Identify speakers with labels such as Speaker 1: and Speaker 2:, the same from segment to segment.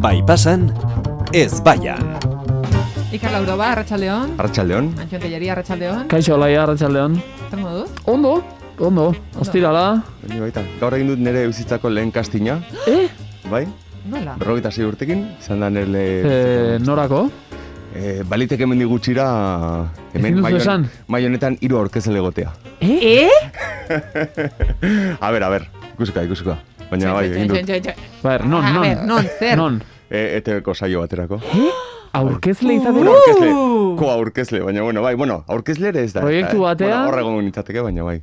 Speaker 1: Bai pasan, ez baian.
Speaker 2: Iker Lauro ba, Arratxaldeon.
Speaker 3: Arratxaldeon.
Speaker 2: Antxon Telleria, Arratxaldeon.
Speaker 4: Kaixo, laia, arratsaldeon.
Speaker 2: Zer moduz?
Speaker 4: Ondo, ondo, ostirala.
Speaker 3: Baina baita, gaur egin dut nire eusitzako lehen kastina,
Speaker 4: Eh?
Speaker 3: bai?
Speaker 2: Nola?
Speaker 3: Berrogeita zei urtekin, izan da nire...
Speaker 4: E, norako?
Speaker 3: E, baliteke mendi gutxira...
Speaker 4: Ezin duzu esan?
Speaker 3: maionetan hiru aurkezele egotea.
Speaker 2: Eh?
Speaker 3: A ber, a ber, ikusika, ikusika. Baina bai, egin dut.
Speaker 4: Ber, Ba, er, non,
Speaker 2: Ah, A
Speaker 4: non.
Speaker 2: ber, non, zer?
Speaker 4: Non.
Speaker 3: E, ETV-ko saio baterako.
Speaker 4: Aurkezle
Speaker 2: Uh.
Speaker 3: Bueno,
Speaker 4: izateko?
Speaker 3: aurkezle, ko aurkezle, baina bueno, bai, bueno, aurkezle ere ez da. Eh,
Speaker 4: Proiektu batean-
Speaker 3: Bueno, horra egongo nintzateke, baina bai.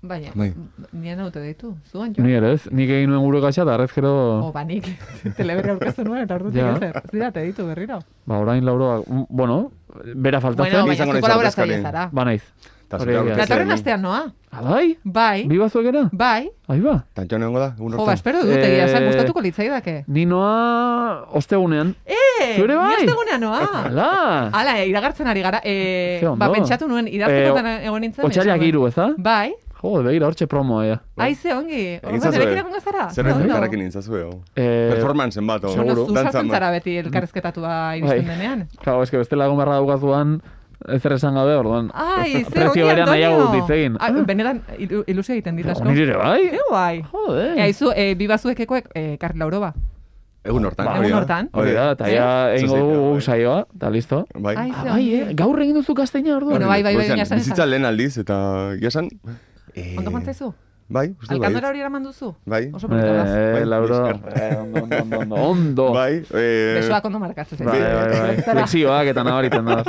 Speaker 2: Baina,
Speaker 3: Bai.
Speaker 2: nien haute deitu, zu Antxon.
Speaker 4: Ni ere ez, nik egin nuen gure gatsa, da arrezkero...
Speaker 2: O, ba, nik teleberri aurkeztu nuen, eta ordutik
Speaker 4: Ja.
Speaker 2: ezer. Zira, te ditu berriro.
Speaker 4: Ba, orain lauroa, mm, bueno, bera
Speaker 2: Bueno, bai, ah.
Speaker 4: faltatzen,
Speaker 2: baina
Speaker 3: izango
Speaker 2: zu
Speaker 3: naiz
Speaker 2: kolaborazioa
Speaker 3: aurkezkari.
Speaker 2: zara.
Speaker 4: ba naiz.
Speaker 3: Eta
Speaker 4: Hori
Speaker 3: zure
Speaker 4: egia.
Speaker 3: aurkezle.
Speaker 2: Datorren
Speaker 3: hemen.
Speaker 2: astean noa?
Speaker 4: Abai?
Speaker 2: Bai,
Speaker 4: Bi bazuek era?
Speaker 2: bai.
Speaker 4: Ahi ba.
Speaker 3: Tantxon egongo da, egun
Speaker 2: Jo, ba,
Speaker 3: hortan.
Speaker 2: espero dut, egia, esan,
Speaker 4: Eh,
Speaker 2: gustatuko litzaidake.
Speaker 4: Ni noa ostegunean.
Speaker 2: Eh,
Speaker 4: zure bai?
Speaker 2: ni astegunean noa.
Speaker 4: Ala!
Speaker 2: Hala, eh, iragartzen ari gara. Eh,
Speaker 4: Ze ondo.
Speaker 2: ba, pentsatu nuen, idaztekotan
Speaker 4: Eh,
Speaker 2: egon nintzen.
Speaker 4: Otxariak
Speaker 2: pentsatu nuen.
Speaker 4: hiru, eh? Bai. ez da?
Speaker 2: Bai,
Speaker 4: Jo, begira, hortxe eh. promoa, ea.
Speaker 2: aize ongi. Orduan,
Speaker 3: zazue.
Speaker 2: nerekin egongo zara?
Speaker 3: Zerbait
Speaker 2: Ondo.
Speaker 3: elkarrekin nintzazue, hau.
Speaker 4: Eh,
Speaker 3: Performance bat, hau.
Speaker 2: Bueno, zu
Speaker 3: Dantzan
Speaker 2: sartzen
Speaker 3: bat.
Speaker 2: zara beti elkarrezketatua iristen
Speaker 4: Bai.
Speaker 2: denean.
Speaker 4: Claro, eske bestela egon beharra daukazuan, ezer esan gabe, orduan. eh,
Speaker 2: Ai, ze
Speaker 4: Prezio
Speaker 2: ongi,
Speaker 4: bera
Speaker 2: Antonio.
Speaker 4: nahiago dut hitz egin.
Speaker 2: Ah, benetan ilu- ilusio egiten dit asko.
Speaker 4: Nire ere bai?
Speaker 2: Ze guai.
Speaker 4: Jode.
Speaker 2: E, aizu, e, bi bazuekekoek e, Karl Lauroba.
Speaker 3: Egun hortan.
Speaker 4: Ba,
Speaker 3: hori
Speaker 2: egun
Speaker 3: da.
Speaker 2: hortan.
Speaker 4: Hori da, eta ja egingo
Speaker 3: Zuzenean,
Speaker 4: dugu
Speaker 3: bai.
Speaker 4: saioa, eta listo.
Speaker 3: Bai.
Speaker 2: Ai,
Speaker 4: Ah, bai, eh? Gaur egin duzu gazteina, orduan.
Speaker 2: Bueno, bai, bai, bai,
Speaker 3: Goizean,
Speaker 2: baina esan
Speaker 3: Bizitza
Speaker 2: esan.
Speaker 3: lehen aldiz, eta jasan... Eh,
Speaker 2: Ondo kontzaizu?
Speaker 3: Bai, uste dut
Speaker 2: Alkandora
Speaker 3: bai.
Speaker 2: hori eraman duzu?
Speaker 3: Bai,
Speaker 2: Oso polita da.
Speaker 4: Eh,
Speaker 3: Bai,
Speaker 4: Lauro.
Speaker 3: esker.
Speaker 4: eh, Ondo, ondo, ondo, ondo. Ondo.
Speaker 3: bai, eh,
Speaker 2: Besoak ondo markatzen
Speaker 4: Bai,
Speaker 2: zaizu.
Speaker 4: bai, bai.
Speaker 2: Zara.
Speaker 4: Flexioak eta nabaritzen da.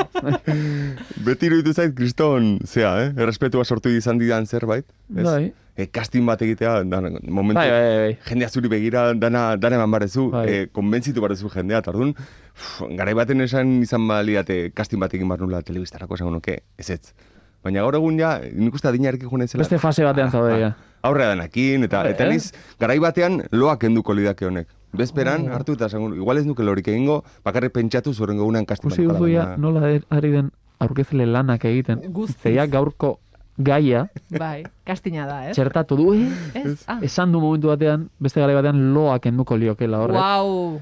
Speaker 3: beti iruditu zait kriston, zea, eh? Errespetua sortu izan didan zerbait. Ez?
Speaker 4: Bai.
Speaker 3: Eh, casting bat egitea, dan, momentu,
Speaker 4: Bai, bai, bai.
Speaker 3: jendea zuri begira, dana, dana eman barezu,
Speaker 4: Bai.
Speaker 3: eh, konbentzitu barezu jendea, tardun, garai baten esan izan baliate casting bat egin behar nula telebistarako esango nuke, ez ez. Baina gaur egun ja, nik uste adina erki joan naizela.
Speaker 4: Beste fase
Speaker 3: Ah,
Speaker 4: batean zaude, ja.
Speaker 3: Aurrea danakin, eta
Speaker 4: Bai,
Speaker 3: eta
Speaker 4: eh?
Speaker 3: niz, garai batean loak enduko lidake honek. Bezperan,
Speaker 4: Ah.
Speaker 3: hartu eta esango, igual ez nuke lorik egingo, bakarrik pentsatu zoren gogunan kastu
Speaker 4: Ikusi duzu ja nola er- ari den aurkezle lanak egiten.
Speaker 2: Guztiz.
Speaker 4: Zeia gaurko gaia
Speaker 2: Bai, kastina da, ez?
Speaker 4: txertatu du. eh?
Speaker 2: Ez? Ah,
Speaker 4: Esan du momentu batean, beste gara batean loak enduko liokela horrek.
Speaker 2: wow.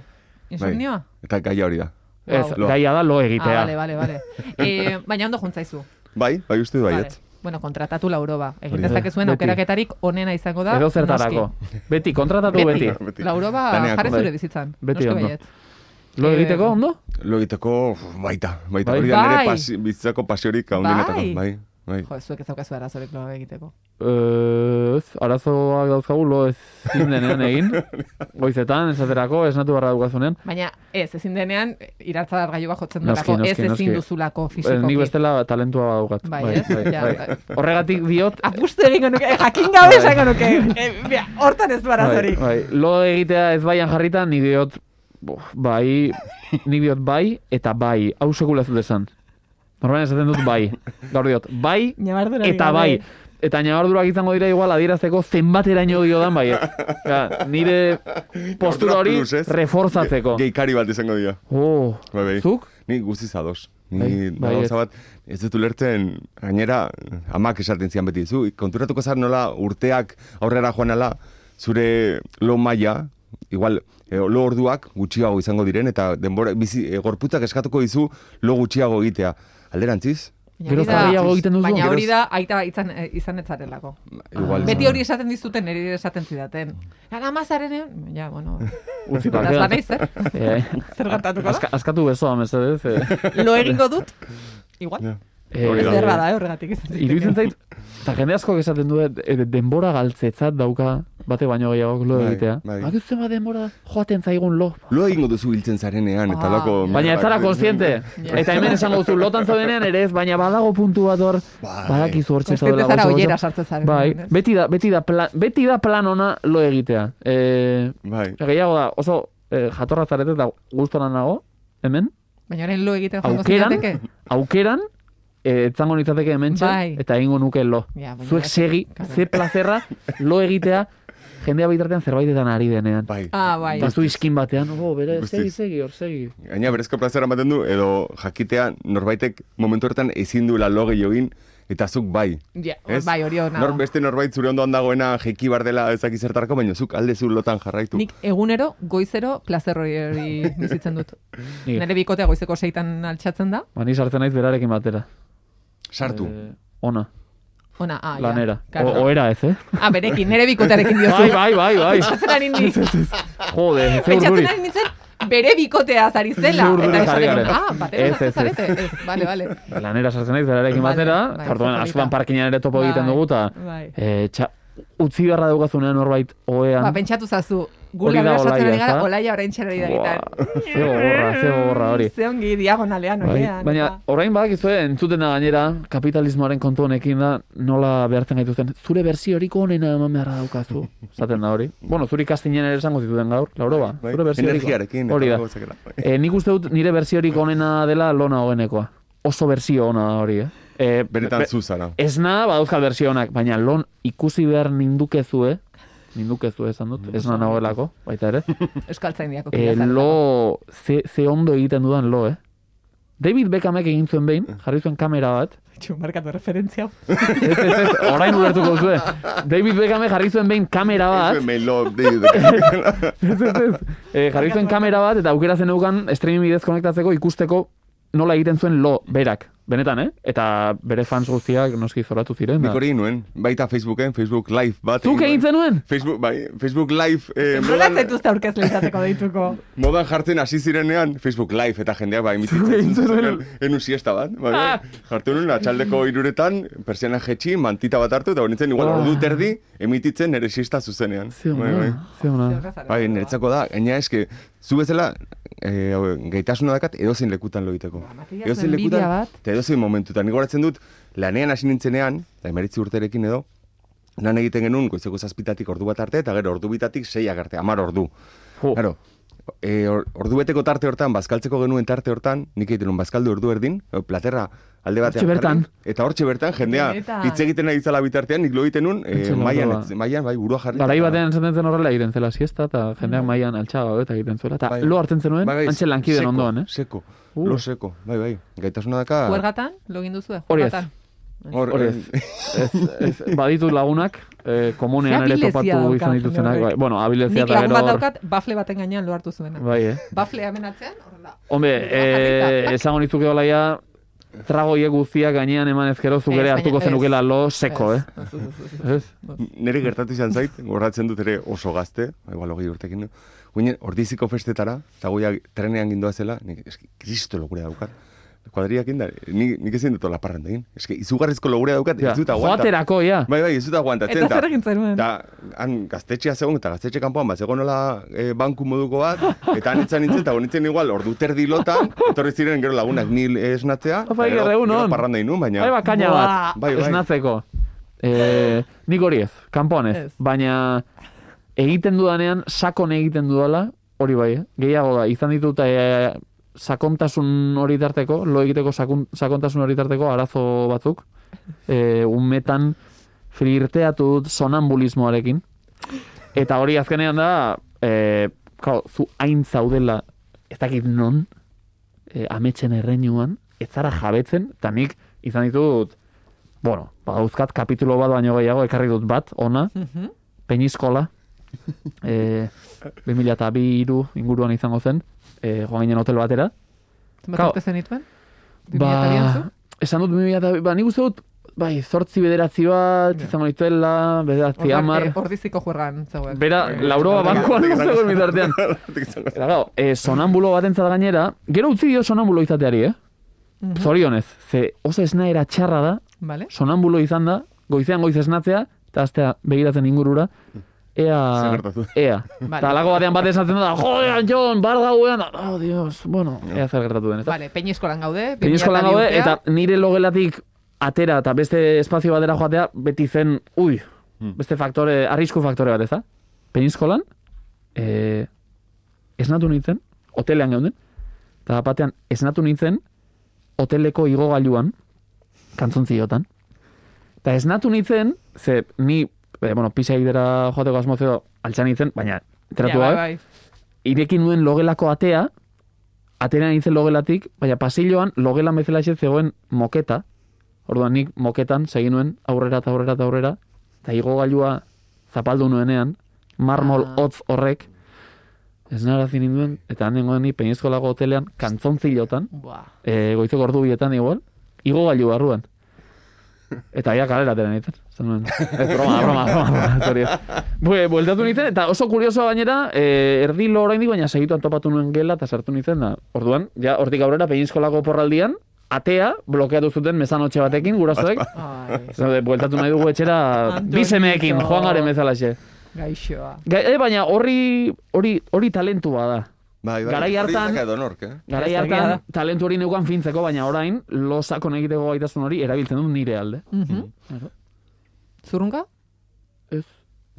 Speaker 2: Insomnioa?
Speaker 3: Eta gaia hori da.
Speaker 4: Ez,
Speaker 3: Lo.
Speaker 4: gaia da lo
Speaker 2: Ah,
Speaker 4: egitea.
Speaker 2: bale, bale, bale. E, baina ondo juntzaizu.
Speaker 3: Bai, bai uste du baiet.
Speaker 2: Vale. Bueno, kontratatu lauroba. Egin
Speaker 3: Hori da.
Speaker 2: dezakezuen
Speaker 4: Beti.
Speaker 2: aukeraketarik onena izango da.
Speaker 4: Edo zertarako. Beti, kontratatu beti.
Speaker 3: Beti. Beti.
Speaker 2: Lauroba ba
Speaker 3: Laneako.
Speaker 2: jarri zure
Speaker 4: Bai.
Speaker 2: bizitzan.
Speaker 4: Beti
Speaker 2: noski
Speaker 4: ondo.
Speaker 2: baietz. Eh,
Speaker 4: Lo egiteko, ondo?
Speaker 3: Lo egiteko uf, baita, baita.
Speaker 4: Bai.
Speaker 3: Hori da nire
Speaker 2: Bai.
Speaker 3: pasi, bizitzako pasiorik handinetako.
Speaker 2: Bai.
Speaker 3: Bai. Bai.
Speaker 2: Jo, zuek ez daukazu arazorik lo egiteko.
Speaker 4: Eh, Ez, arazoak dauzkagu lo ez indenean egin. Goizetan, esaterako, esnatu barra daukazunean.
Speaker 2: Baina ez, ezin denean, iratza argaiua jotzen
Speaker 4: Noski,
Speaker 2: delako, ez
Speaker 4: noski,
Speaker 2: ezin
Speaker 4: noski.
Speaker 2: duzulako
Speaker 4: Eh,
Speaker 2: fisikoki.
Speaker 4: Nik bestela talentua daukat.
Speaker 2: Bai, ez? Ja, bai.
Speaker 4: Horregatik diot...
Speaker 2: Apustu egingo nuke, eh, jakin gabe
Speaker 4: Bai.
Speaker 2: esango nuke. Eh, bea, hortan ez du arazorik.
Speaker 4: bai. Lo egitea ez baian jarrita, nik diot... bo, Bai, nik diot bai, eta bai. Hau sekula ez dut esan. Normalen esaten dut bai. Gaur diot, bai,
Speaker 2: Ñabardurarik
Speaker 4: eta
Speaker 2: gabe.
Speaker 4: bai. Eta nabardurak izango dira igual adierazteko zenbateraino dio dan bai. Ja, nire postura hori
Speaker 3: Plus, ez?
Speaker 4: reforzatzeko.
Speaker 3: Ge- Geikari bat izango dira.
Speaker 4: Oh,
Speaker 3: Bai, bai.
Speaker 4: zuk?
Speaker 3: Ni guztiz ados.
Speaker 4: Bai,
Speaker 3: Ni
Speaker 4: bai,
Speaker 3: bai,
Speaker 4: ez.
Speaker 3: bat, ez dut ulertzen, gainera, amak esaten zian beti, zu, konturatuko zar nola urteak aurrera joan ala, zure lo maila, igual, eh, lo orduak gutxiago izango diren, eta denbora, bizi, eh, gorputzak eskatuko dizu lo gutxiago egitea. Alderantziz?
Speaker 2: Baina
Speaker 4: Gero
Speaker 2: hori da-
Speaker 4: eta gehiago egiten duzu. Bai.
Speaker 2: Baina hori
Speaker 3: Geroz-
Speaker 2: da, aita izan, eh, izan ez zarelako.
Speaker 4: Ah.
Speaker 3: Igual,
Speaker 2: Beti hori esaten dizuten, niri ere esaten zidaten. Gara mazaren, ja, bueno.
Speaker 4: Utzi
Speaker 2: Beraz,
Speaker 4: parkean.
Speaker 2: banaiz, eh?
Speaker 4: Eh,
Speaker 2: Zer
Speaker 3: Bai.
Speaker 2: gertatuko da?
Speaker 4: aska, askatu besoa, mesedez. Eh,
Speaker 2: Lo egingo dut, igual.
Speaker 3: Ja.
Speaker 4: eh,
Speaker 3: Hori da.
Speaker 2: Zer bada, eh, horregatik izan zitekeen.
Speaker 4: Iruditzen zait, eta jende asko esaten du, eh, denbora galtzetzat dauka, bate baino gehiago lo
Speaker 3: Bai,
Speaker 4: egitea.
Speaker 3: bai.
Speaker 4: Bakizu zenbat denbora joaten zaigun lo.
Speaker 3: Lo egingo duzu hiltzen zarenean, eta
Speaker 2: Ah.
Speaker 3: lako...
Speaker 4: Baina ez zara konsiente.
Speaker 2: Ja.
Speaker 4: Eta hemen esango duzu, lotan zaudenean ere ez, baina badago puntu bat hor,
Speaker 3: Bai.
Speaker 4: badakizu hortxe
Speaker 2: Kontziente
Speaker 4: zaudela.
Speaker 2: zara
Speaker 4: gozo, gozo.
Speaker 2: oiera sartzen zaren.
Speaker 4: Bai, beti da, beti da, plan, beti da plan ona lo egitea. Eh,
Speaker 3: Bai.
Speaker 4: gehiago da, oso eh, jatorra zarete eta gustora nago, hemen,
Speaker 2: Baina orain lo egiten joango
Speaker 4: aukeran,
Speaker 2: zinateke?
Speaker 4: aukeran, eh, etzango nitzateke hementxe,
Speaker 2: Bai.
Speaker 4: eta egingo nuke lo.
Speaker 2: Ja, baina
Speaker 4: Zuek
Speaker 2: ez-
Speaker 4: segi,
Speaker 2: Claro.
Speaker 4: ze plazerra, lo egitea, jendea bitartean zerbaitetan ari denean.
Speaker 3: Bai.
Speaker 2: Ah, bai.
Speaker 4: Bazu iskin batean, oh, bere,
Speaker 3: Guztiz.
Speaker 4: segi, segi, hor, segi.
Speaker 3: Gaina berezko plazera ematen du, edo jakitea norbaitek momentu hortan ezin duela lo gehiagin, Eta zuk bai.
Speaker 2: Ja,
Speaker 3: Ez?
Speaker 2: bai, hori hona.
Speaker 3: Nor, beste norbait zure ondoan dagoena jeki bar dela ezaki zertarako, baina zuk alde zu lotan jarraitu.
Speaker 2: Nik egunero, goizero, placer hori bizitzen dut.
Speaker 4: Ni-
Speaker 2: Nere bikotea goizeko seitan altxatzen da.
Speaker 4: Ba, ni sartzen naiz berarekin batera.
Speaker 3: Sartu.
Speaker 4: Eh, ona,
Speaker 2: Ona, ah, ja,
Speaker 4: lanera.
Speaker 2: claro.
Speaker 4: O, oera ez, eh?
Speaker 2: Ah, berekin, nere bikotearekin diozu.
Speaker 4: Bai, bai, bai, bai.
Speaker 2: Pentsatzen ari nintzen,
Speaker 4: Jode, ze urduri.
Speaker 2: pentsatzen ari nintzen, bere bikotea ari zela.
Speaker 4: Ze urduri
Speaker 2: Eta
Speaker 4: jarri
Speaker 2: esaten dut,
Speaker 4: garen.
Speaker 2: ah, batera
Speaker 4: Ez,
Speaker 2: ez,
Speaker 4: ez, ez.
Speaker 2: zarete. Ez, bale, bale.
Speaker 4: Lanera sartzen naiz berarekin
Speaker 2: Vale,
Speaker 4: batera,
Speaker 2: bai,
Speaker 4: eta orduan
Speaker 2: fatalita.
Speaker 4: askotan parkinan ere topo egiten
Speaker 2: Bai,
Speaker 4: dugu, eta
Speaker 2: bai.
Speaker 4: eh, txa, utzi beharra daukazunean norbait ohean.
Speaker 2: Ba, pentsatu zazu,
Speaker 4: Hori
Speaker 2: gula
Speaker 4: da
Speaker 2: bera sartzen
Speaker 4: olaia,
Speaker 2: ari gara,
Speaker 4: ezta?
Speaker 2: olaia orain txera ari da
Speaker 4: Buah,
Speaker 2: gitar.
Speaker 4: ze gogorra, ze gogorra hori.
Speaker 2: Ze ongi diagonalean,
Speaker 4: Bai,
Speaker 2: oian.
Speaker 4: baina orain badakizue entzuten da gainera kapitalismoaren kontu honekin da nola behartzen gaituzten. Zure bersiorik onena eman beharra daukazu. Zaten da hori. Bueno, zuri kastinen ere esango zituten gaur, Lauro ba.
Speaker 3: Bai,
Speaker 4: Zure bersiorik
Speaker 3: energiarekin,
Speaker 4: Hori da.
Speaker 3: eta Eh, gauzak era.
Speaker 4: E, nik uste dut nire bersiorik onena dela lona hogenekoa. Oso bersio ona da hori, eh? E,
Speaker 3: Benetan zu zara.
Speaker 4: Ez na, badauzkat bersio onak, baina lon ikusi behar nindukezue, nindukezue eh, esan
Speaker 3: Mm.
Speaker 4: dut, ez na nagoelako, baita ere.
Speaker 2: Euskaltzain diako.
Speaker 4: E, lo, ze, ze ondo egiten dudan lo, eh? David Beckhamek egin zuen
Speaker 3: Eh.
Speaker 4: behin, jarri zuen kamera bat.
Speaker 2: Txumarkatu referentzia. hau.
Speaker 4: Ez, ez, ez, orain ulertuko zuen. David Beckhamek jarri zuen behin kamera bat.
Speaker 3: Mail lo- de- de-
Speaker 4: Ez, ez, ez. E, jarri zuen kamera bat eta aukera zen eukan streaming bidez konektatzeko ikusteko nola egiten zuen lo, berak. Benetan, eh? Eta bere fans guztiak noski zoratu ziren. da.
Speaker 3: Nik hori egin nuen, baita Facebooken, Facebook Live bat.
Speaker 4: Zuk egin zenuen?
Speaker 3: Facebook, bai, Facebook Live eh,
Speaker 2: Nola
Speaker 3: modan,
Speaker 2: zaituzte aurkezle izateko deituko.
Speaker 3: modan jartzen hasi zirenean, Facebook Live eta jendeak bai mititzen zuen enun siesta bat. Bai,
Speaker 4: Ah!
Speaker 3: Jartu nuen, atxaldeko iruretan, persiana jetxi, mantita bat hartu, eta hori nintzen, igual
Speaker 4: Ah.
Speaker 3: ordu terdi, emititzen nere siesta zuzenean.
Speaker 4: Ze
Speaker 3: Bai, bai.
Speaker 4: ona, ze ona.
Speaker 3: Bai, niretzako da, gaina eske, zu bezala, e, gaitasuna dakat edozein lekutan logiteko.
Speaker 2: Matias, enbidia bat.
Speaker 3: eta edozein momentutan. Nik goratzen dut, lanean hasi nintzenean, eta emeritzi urterekin edo, lan egiten genuen goizeko zazpitatik ordu bat arte, eta gero ordu bitatik seiak arte, amar ordu.
Speaker 4: Jo.
Speaker 3: Claro, e, or, ordu beteko tarte hortan, bazkaltzeko genuen tarte hortan, nik egiten nuen bazkaldu ordu erdin, e, platerra alde batean.
Speaker 4: Hortxe bertan.
Speaker 3: jarri, Eta hortxe bertan, jendea
Speaker 2: Benetan.
Speaker 3: hitz egiten nahi zala bitartean, nik lo egiten nuen, e,
Speaker 4: Entzun
Speaker 3: maian,
Speaker 4: ordua.
Speaker 3: maian, bai, burua jarri.
Speaker 4: Garai
Speaker 3: eta-
Speaker 4: batean esaten zen horrela egiten zela siesta, eta jendeak mailan altxaga eta egiten zuela. Eta
Speaker 3: Bai.
Speaker 4: lo hartzen zenuen,
Speaker 3: Bai, bai,
Speaker 4: antxe lankiden
Speaker 3: seko,
Speaker 4: ondoan, eh?
Speaker 3: Seko,
Speaker 4: Uh.
Speaker 3: lo seko, bai, bai. Gaitasuna daka...
Speaker 2: Huergatan, login eh, duzue?
Speaker 4: Hori ez.
Speaker 2: juergatan?
Speaker 3: Hor,
Speaker 4: Hori
Speaker 3: eh,
Speaker 4: ez. ez, ez baditu lagunak, eh, komunean
Speaker 2: Ze
Speaker 4: ere
Speaker 2: abilezia
Speaker 4: topatu
Speaker 2: dauka
Speaker 4: izan dituztenak.
Speaker 2: jende
Speaker 4: Bai,
Speaker 2: horrek.
Speaker 4: bueno, abilezia
Speaker 2: Nik
Speaker 4: eta
Speaker 2: lagun
Speaker 4: gero
Speaker 2: bat
Speaker 4: hor.
Speaker 2: daukat, bafle baten gainean lo hartu zuena.
Speaker 4: Bai, eh.
Speaker 2: Baflea hemen atzean, horrela.
Speaker 4: Hombre, eh,
Speaker 2: jarrita.
Speaker 4: esango nizuke olaia, tragoiek guztiak gainean eman ezkero zuk
Speaker 2: Ez,
Speaker 4: ere
Speaker 2: baina
Speaker 4: hartuko
Speaker 2: ez.
Speaker 4: zenukela lo seko, eh?
Speaker 2: Ez, ez, ez, ez, ez.
Speaker 4: Ez?
Speaker 3: nire gertatu izan zait, gorratzen dut ere oso gazte, igual hogei urtekin, guinen ordiziko festetara, eta guia trenean gindoa zela, nik eski, kristo logure daukat. Kuadriak inda, nik, nik ezin dut olaparren egin. Eski, izugarrizko logure daukat,
Speaker 4: Ja,
Speaker 3: ez dut aguanta.
Speaker 4: Joaterako, ja.
Speaker 3: Bai, bai, ez dut aguantatzen.
Speaker 2: Eta zer egin zenuen?
Speaker 3: Eta han gaztetxea zegoen, eta gaztetxe kanpoan, bat zegoen nola eh, banku moduko bat, eta han etzan nintzen, eta honitzen igual, ordu terdi lotan, etorri ziren gero lagunak nil esnatzea, eta
Speaker 4: Bai,
Speaker 3: gero,
Speaker 4: gero egun
Speaker 3: gero
Speaker 4: on.
Speaker 3: parranda inun, baina...
Speaker 2: ba-
Speaker 4: Bai, bakaina
Speaker 2: Buah.
Speaker 4: bat.
Speaker 3: Bai, bai.
Speaker 4: Esnatzeko. Eh, nik hori ez, kanpoan ez.
Speaker 2: Ez.
Speaker 4: Baina egiten dudanean, sakon egiten dudala, hori bai, eh? gehiago da, izan ditut eh, sakontasun hori tarteko, lo egiteko sakun, sakontasun hori tarteko arazo batzuk, eh, umetan flirteatu dut sonambulismoarekin, eta hori azkenean da, eh, kao, zu hain zaudela, ez dakit non, e, ametxen erreinuan, ez zara jabetzen, eta nik izan ditut, bueno, badauzkat kapitulo bat baino gehiago, ekarri dut bat, ona,
Speaker 2: Mhm.
Speaker 4: penizkola, e, 2002 inguruan izango zen, e, joan ginen hotel batera.
Speaker 2: Zenbat
Speaker 4: Kao.
Speaker 2: urte zenituen?
Speaker 4: Ba,
Speaker 2: Ba...
Speaker 4: esan dut 2002, ba, nik uste dut, bai, zortzi bederatzi bat, izango dituela, bederatzi amar.
Speaker 2: eh, Ordiziko juergan zegoen.
Speaker 4: Bera, lauroa bankoan ez zegoen bitartean. Eta gau, e, sonambulo batentzat gainera, gero utzi dio sonambulo izateari, eh?
Speaker 2: Mhm.
Speaker 4: Zorionez, ze oso esnaera txarra da,
Speaker 2: Vale?
Speaker 4: sonambulo izan da, goizean goiz esnatzea, eta aztea begiratzen ingurura, ea...
Speaker 3: Zer gertatu?
Speaker 4: Ea.
Speaker 2: Vale.
Speaker 4: Eta alako batean bat esatzen da, jodean, Jon, bar gauean, oh, Dios, bueno, ea zer gertatu den, ez da?
Speaker 2: Vale, peñizkolan gaude.
Speaker 4: Pinizkolan
Speaker 2: 2002
Speaker 4: gaude,
Speaker 2: urtea.
Speaker 4: eta nire logelatik atera eta beste espazio batera joatea, beti zen, ui, beste faktore, arrisku faktore bat, ez da? Pinizkolan, e, esnatu nintzen, hotelean geunden, eta batean esnatu nintzen, hoteleko igogailuan, kantzontziotan. Eta esnatu nintzen, ze ni, e, bueno, pisa egitera joateko asmozio altxan nintzen,
Speaker 2: Ja,
Speaker 4: baina enteratu
Speaker 2: bai,
Speaker 4: gabe,
Speaker 2: bai.
Speaker 4: irekin nuen logelako atea, atera nintzen logelatik, baina pasilloan logelan bezala zegoen moketa, Orduan nik moketan segin nuen aurrera eta aurrera eta aurrera, eta igogailua zapaldu nuenean, marmol
Speaker 2: Ah.
Speaker 4: hotz horrek, ez narazi ninduen, eta nengoen ni peinezko lago hotelean, kantzontzillotan,
Speaker 2: Buah.
Speaker 4: e, goizeko ordu bietan igual, igogailu barruan. Eta ia kalera atera nintzen. Zer nuen, Ez broma, broma, broma, broma, zorio. Bue, bueltatu nintzen, eta oso kuriosoa gainera, e, erdi lo oraindik baina segituan topatu nuen gela eta sartu nintzen da. Orduan, ja, hortik aurrera peinizkolako porraldian, atea blokeatu zuten mesanotxe batekin, gurasoek.
Speaker 2: Ai,
Speaker 4: Zaude, bueltatu nahi dugu etxera
Speaker 2: Antonito.
Speaker 4: bi semeekin, joan garen bezalaxe.
Speaker 2: gaixoa.
Speaker 4: Gai- eh, baina horri, hori, hori talentua da.
Speaker 3: Bai, bai,
Speaker 4: Garai
Speaker 3: hori
Speaker 4: hartan-
Speaker 3: daka edonork, eh?
Speaker 4: Garai
Speaker 2: Ez, egia
Speaker 4: hartan
Speaker 2: da.
Speaker 4: talentu hori neukan fintzeko, baina orain losakon egiteko gaitasun hori erabiltzen dut nire alde.
Speaker 2: Mhm.
Speaker 4: Mm-hmm. Claro.
Speaker 2: Zurrunga?
Speaker 4: Ez,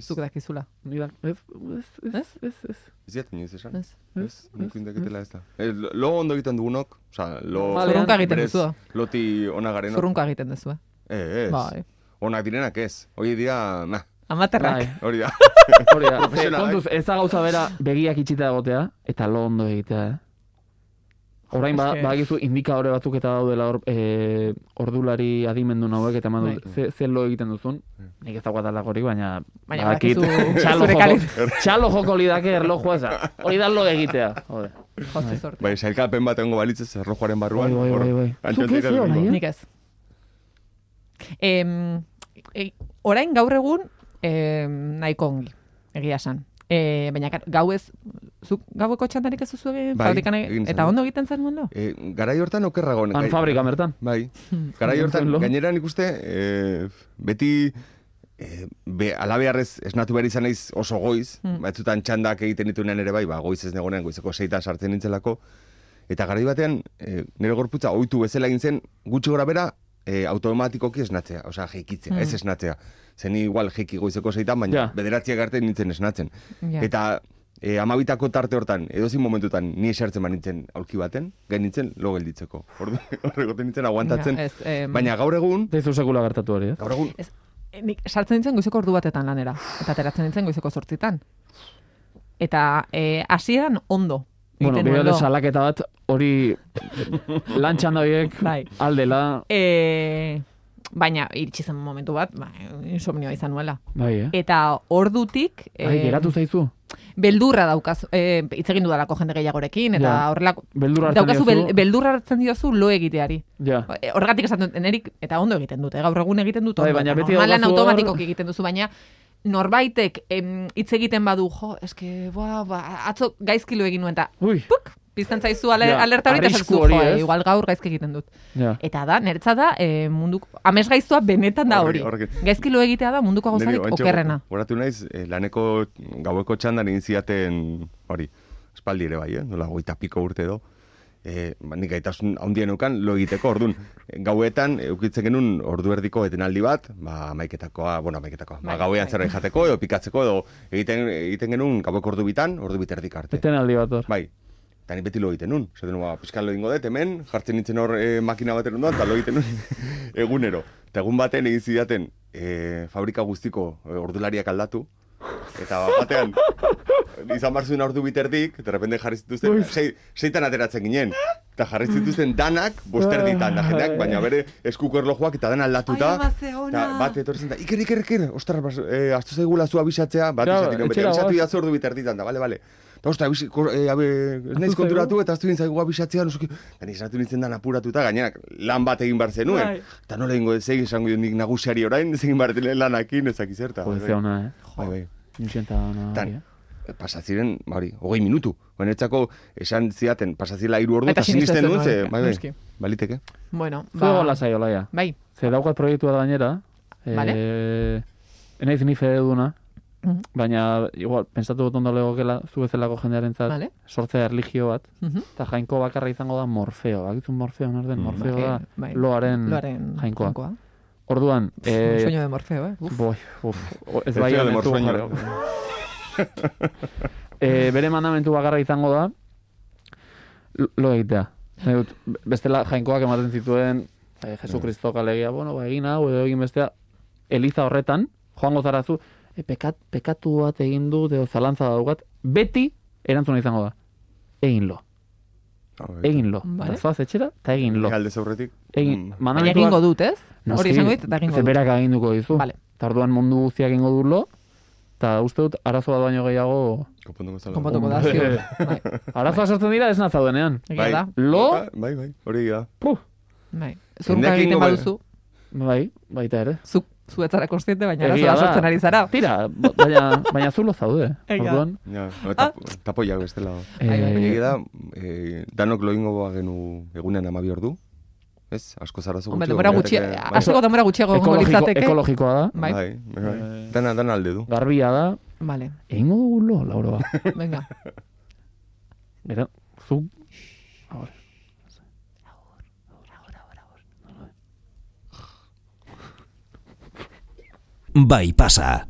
Speaker 2: Zuk dakizula.
Speaker 4: nire, ez, ez, ez, ez, ez.
Speaker 3: Ez diat inoiz esan.
Speaker 2: Ez?
Speaker 3: Ez, nik indaketela ez da. Eh, lo- Lo ondo egiten dugunok, oza, lo...
Speaker 4: Balean.
Speaker 2: Zurrunka egiten
Speaker 3: berez,
Speaker 2: duzu.
Speaker 3: Loti ona garenok.
Speaker 2: Zurrunka egiten duzu, eh?
Speaker 3: Eh, ez.
Speaker 2: Bai.
Speaker 3: Onak direnak ez. Hoi dira, nah,
Speaker 2: Amaterrak.
Speaker 4: Bai,
Speaker 3: hori da.
Speaker 4: hori da. Ze,
Speaker 3: Profesionalak.
Speaker 4: Kontuz, ez da gauza bera begiak itxita egotea, eta lo ondo egitea, eh? Orain ba,
Speaker 2: Eske-
Speaker 4: badakizu indikadore batzuk eta daudela hor, e, ordulari adimendu hauek eta eman dut,
Speaker 2: Bai.
Speaker 4: ze, ze lo egiten duzun, nik ez dagoat alakorik, baina,
Speaker 2: Baina
Speaker 4: badakit
Speaker 2: badakizu
Speaker 4: txalo,
Speaker 2: zure
Speaker 4: joko, txalo joko lidake erlojua eza, hori da lo egitea, jode.
Speaker 2: Jose sorte.
Speaker 3: Bai, sailkapen bat egongo balitzez errojoaren barruan.
Speaker 4: Bai, bai,
Speaker 3: hor,
Speaker 4: bai, bai.
Speaker 3: antxotik
Speaker 4: Zuk ez,
Speaker 3: egongo.
Speaker 4: Ibai, eh?
Speaker 2: Nik ez. Em, e, orain gaur egun em, nahiko ongi, egia esan. E, baina kar- gauez, zuk gaueko txantarik ez duzu egin,
Speaker 3: Bai,
Speaker 2: fabrikan egin-
Speaker 3: egin izan
Speaker 2: eta
Speaker 3: dut.
Speaker 2: ondo egiten zen mundu?
Speaker 3: Eh, garai hortan okerrago.
Speaker 4: Han
Speaker 3: gai-
Speaker 4: fabrika mertan.
Speaker 3: Bai. Garai hortan,
Speaker 4: Lo.
Speaker 3: gainera nik uste, eh, beti eh, be, alabearrez esnatu behar izan naiz oso goiz, batzutan txandak egiten ditunean ere bai, ba, goiz ez negonean, goizeko seita sartzen nintzelako, eta garai batean, eh, nire gorputza ohitu bezala egin zen, gutxi gora bera, eh, automatikoki esnatzea, osea, jekitzea, ez esnatzea. Zen igual jeki goizeko seitan, baina
Speaker 4: Ja.
Speaker 3: bederatziak arte nintzen esnatzen.
Speaker 2: Ja.
Speaker 3: Eta e, amabitako tarte hortan, edozin momentutan, ni esertzen banintzen aulki baten, gain nintzen lo gelditzeko. Ordu, horregoten nintzen aguantatzen.
Speaker 2: Ja, ez, em,
Speaker 3: Baina gaur egun,
Speaker 4: Ez du sekula gertatu hori, ez?
Speaker 3: gaur egun,
Speaker 2: Ez, e, nik sartzen nintzen goizeko ordu batetan lanera, eta ateratzen nintzen goizeko sortzitan. Eta e, hasieran ondo.
Speaker 4: Bueno,
Speaker 2: egiten
Speaker 4: bideo
Speaker 2: nuen
Speaker 4: de
Speaker 2: lo.
Speaker 4: salaketa bat hori lantxan horiek
Speaker 2: Bai.
Speaker 4: aldela,
Speaker 2: E, baina iritsi zen momentu bat, ba, insomnioa izan nuela.
Speaker 4: bai, eh?
Speaker 2: Eta ordutik...
Speaker 4: Ai,
Speaker 2: em,
Speaker 4: geratu zaizu?
Speaker 2: beldurra daukaz, eh, hitz egin dudalako jende gehiagorekin, eta
Speaker 4: Ja.
Speaker 2: horrelako,
Speaker 4: Beldurra hartzen
Speaker 2: daukazu
Speaker 4: diozu.
Speaker 2: bel, beldurra hartzen diozu lo egiteari.
Speaker 4: Ja.
Speaker 2: Eh, Horregatik esaten dut, enerik, eta ondo egiten dute, gaur egun egiten dut,
Speaker 4: Bai,
Speaker 2: ondo,
Speaker 4: baina
Speaker 2: eta
Speaker 4: beti
Speaker 2: normalan
Speaker 4: daukazu hor-
Speaker 2: automatikoki egiten duzu, baina norbaitek em, hitz egiten badu, jo, eske, ba, ba, atzo gaizkilo egin nuen, eta
Speaker 4: Ui,
Speaker 2: puk, pizten zaizu ale,
Speaker 4: Ja,
Speaker 2: alerta hori, eta
Speaker 4: arrisku
Speaker 2: esatzen duzu,
Speaker 4: hori,
Speaker 2: jo, eh,
Speaker 4: ez?
Speaker 2: igual gaur gaizki egiten dut.
Speaker 4: ja.
Speaker 2: Eta da, niretzat da, eh, munduko, amesgaiztua benetan da
Speaker 3: Horri-
Speaker 2: hori.
Speaker 3: horri-
Speaker 2: Gaizkilo egitea da munduko
Speaker 3: niri
Speaker 2: gauzarik
Speaker 3: oantxe
Speaker 2: okerrena.
Speaker 3: goratu naiz, eh, laneko gaueko txandan egin ziaten, hori, espaldi ere bai, eh? nola goita piko urte edo, eh, ba, nik gaitasun handien eukan lo egiteko, ordun gauetan eukitzen genuen ordu erdiko etenaldi bat, ba, maiketakoa, bueno, maiketakoa, ba,
Speaker 2: Bai,
Speaker 3: gauean
Speaker 2: bai.
Speaker 3: zerbait jateko, edo pikatzeko, edo egiten, egiten genuen gaueko ordu bitan, ordu biterdik arte.
Speaker 4: Eten aldi bat hor.
Speaker 3: Bai. Eta ni beti lo egiten nun. Zaten, ba, pixkan lo egingo dut, hemen, jartzen nintzen hor eh, makina baten ondoan, eta lo egiten nun egunero. Eta egun baten egin zidaten eh, fabrika guztiko eh, ordulariak aldatu. Eta ba, batean, izan behar zuen ordu biterdik, eta repente jarri zituzten, sei, seitan ateratzen ginen. Eta jarri zituzten danak,
Speaker 4: Ah.
Speaker 3: bosterditan, da jendeak, baina bere eskuko erlojuak eta dan aldatuta.
Speaker 2: Ai, ama, ze ona.
Speaker 3: Eta bat etorri zen da, iker, iker, iker, ostras, bas- eh, astu zaigula zu abisatzea, bat
Speaker 4: Claro,
Speaker 3: izatik, bete,
Speaker 4: etxera
Speaker 3: abisatu
Speaker 4: goaz.
Speaker 3: idatzu ordu biterditan da, bale, bale. Eta ostra, abis, ko- eh, abe, ez naiz
Speaker 4: zaigu?
Speaker 3: konturatu eta aztu egin zaigu abisatzea, no sé qué. Eta ni esnatu nintzen dan apuratuta, gainerak lan bat egin behar zenuen.
Speaker 2: Bai.
Speaker 3: Eta nola egingo ez egin esango dut nik nagusiari orain, ez egin behar dela lanakin, ezak izerta.
Speaker 4: Jodezea ona, eh?
Speaker 3: Bai, bai.
Speaker 4: Inxenta ona.
Speaker 3: Tan,
Speaker 4: hori, eh?
Speaker 3: pasaziren, ba hori, hogei minutu. Honetzako esan ziaten, pasazila iru ordu,
Speaker 2: Eta
Speaker 3: eta sinisten
Speaker 2: sinisten
Speaker 3: nuen, ze,
Speaker 2: nuen,
Speaker 3: bai, bai,
Speaker 2: noski.
Speaker 3: baliteke.
Speaker 2: Bueno, ba,
Speaker 4: Zuego lasai olaia.
Speaker 2: bai,
Speaker 4: Ze daukat proiektua da gainera.
Speaker 2: Bale.
Speaker 4: Eh, Enaiz ni fededuna.
Speaker 2: Mhm.
Speaker 4: Baina, igual, pensatu dut ondo legokela, zu bezalako jendearen zat,
Speaker 2: Bale.
Speaker 4: sortzea erligio bat,
Speaker 2: Mhm.
Speaker 4: eta jainko bakarra izango da morfeo. Bakizu morfeo, nor
Speaker 3: Mm,
Speaker 4: den? Morfeo
Speaker 2: Bai,
Speaker 4: da
Speaker 2: bai.
Speaker 4: loaren,
Speaker 2: Loaren
Speaker 4: jainkoa. Orduan,
Speaker 2: Un
Speaker 4: eh,
Speaker 2: sueño de Morfeo, eh? Uf.
Speaker 4: Boi, uf, o- ez
Speaker 3: Perfil
Speaker 4: bai
Speaker 3: de
Speaker 4: honetu
Speaker 3: morsueño.
Speaker 4: jarriko. e, bere mandamentu bakarra izango da, lo- lo egitea. Nahi dut, be- Bestela jainkoak ematen zituen, e,
Speaker 3: Bai.
Speaker 4: Jesu Kristo kalegia, bueno, ba, egin hau, edo egin bestea, Eliza horretan, joango zara zu, e, pekat, pekatu bat egin du, edo zalantza daukat, beti erantzuna izango da. Egin lo.
Speaker 3: Ba, bai.
Speaker 4: eginlo.
Speaker 2: Vale.
Speaker 4: Vale. Zoaz etxera, eta eginlo.
Speaker 3: Alde zaurretik.
Speaker 4: Egin,
Speaker 3: Mm.
Speaker 2: Baina
Speaker 4: manamentuak-
Speaker 2: egingo dut, ez?
Speaker 4: Noski,
Speaker 2: Hori esango dit, eta egingo
Speaker 4: ze
Speaker 2: dut.
Speaker 4: berak aginduko dizu.
Speaker 2: Vale.
Speaker 4: Eta orduan mundu guztiak egingo du lo, eta uste dut arazo bat baino gehiago...
Speaker 3: Konponduko zala.
Speaker 2: Konpontuko da,
Speaker 4: Hombre.
Speaker 2: ziur. Bai,
Speaker 4: Arazoa sortzen dira ez nazaudenean.
Speaker 2: egia da.
Speaker 4: Lo,
Speaker 3: Bai, bai, hori da.
Speaker 4: puh,
Speaker 2: Bai.
Speaker 3: Jendeak
Speaker 2: Zurka egiten
Speaker 3: egingo bai.
Speaker 2: baduzu,
Speaker 4: bai, baita ere.
Speaker 2: zu, zu ez zara kontziente, baina
Speaker 4: Egia
Speaker 2: arazoa
Speaker 4: da.
Speaker 2: sortzen ari zara.
Speaker 4: Tira, ba- baina, baina zulo zaude.
Speaker 2: Egia da.
Speaker 4: Orduan,
Speaker 3: Ja,
Speaker 2: Ah.
Speaker 3: eta tapoiak bestela.
Speaker 2: Bai, bai.
Speaker 4: eh,
Speaker 3: Baina egia da, eh, danok loingo bagenu egunean hamabi ordu. Ez, asko zara zu
Speaker 2: Hombre, denbora gutxi,
Speaker 3: bai.
Speaker 2: hasteko denbora gutxiago egongo
Speaker 4: ekologiko,
Speaker 2: litzateke.
Speaker 4: ekologikoa da,
Speaker 2: Bai,
Speaker 3: Bai, bai, bai. Dana, dana alde du.
Speaker 4: garbia da,
Speaker 2: vale,
Speaker 4: egingo dugu lo, Laura. ba.
Speaker 2: venga.
Speaker 4: Bera, zu... Ahora.
Speaker 1: Bai pasa.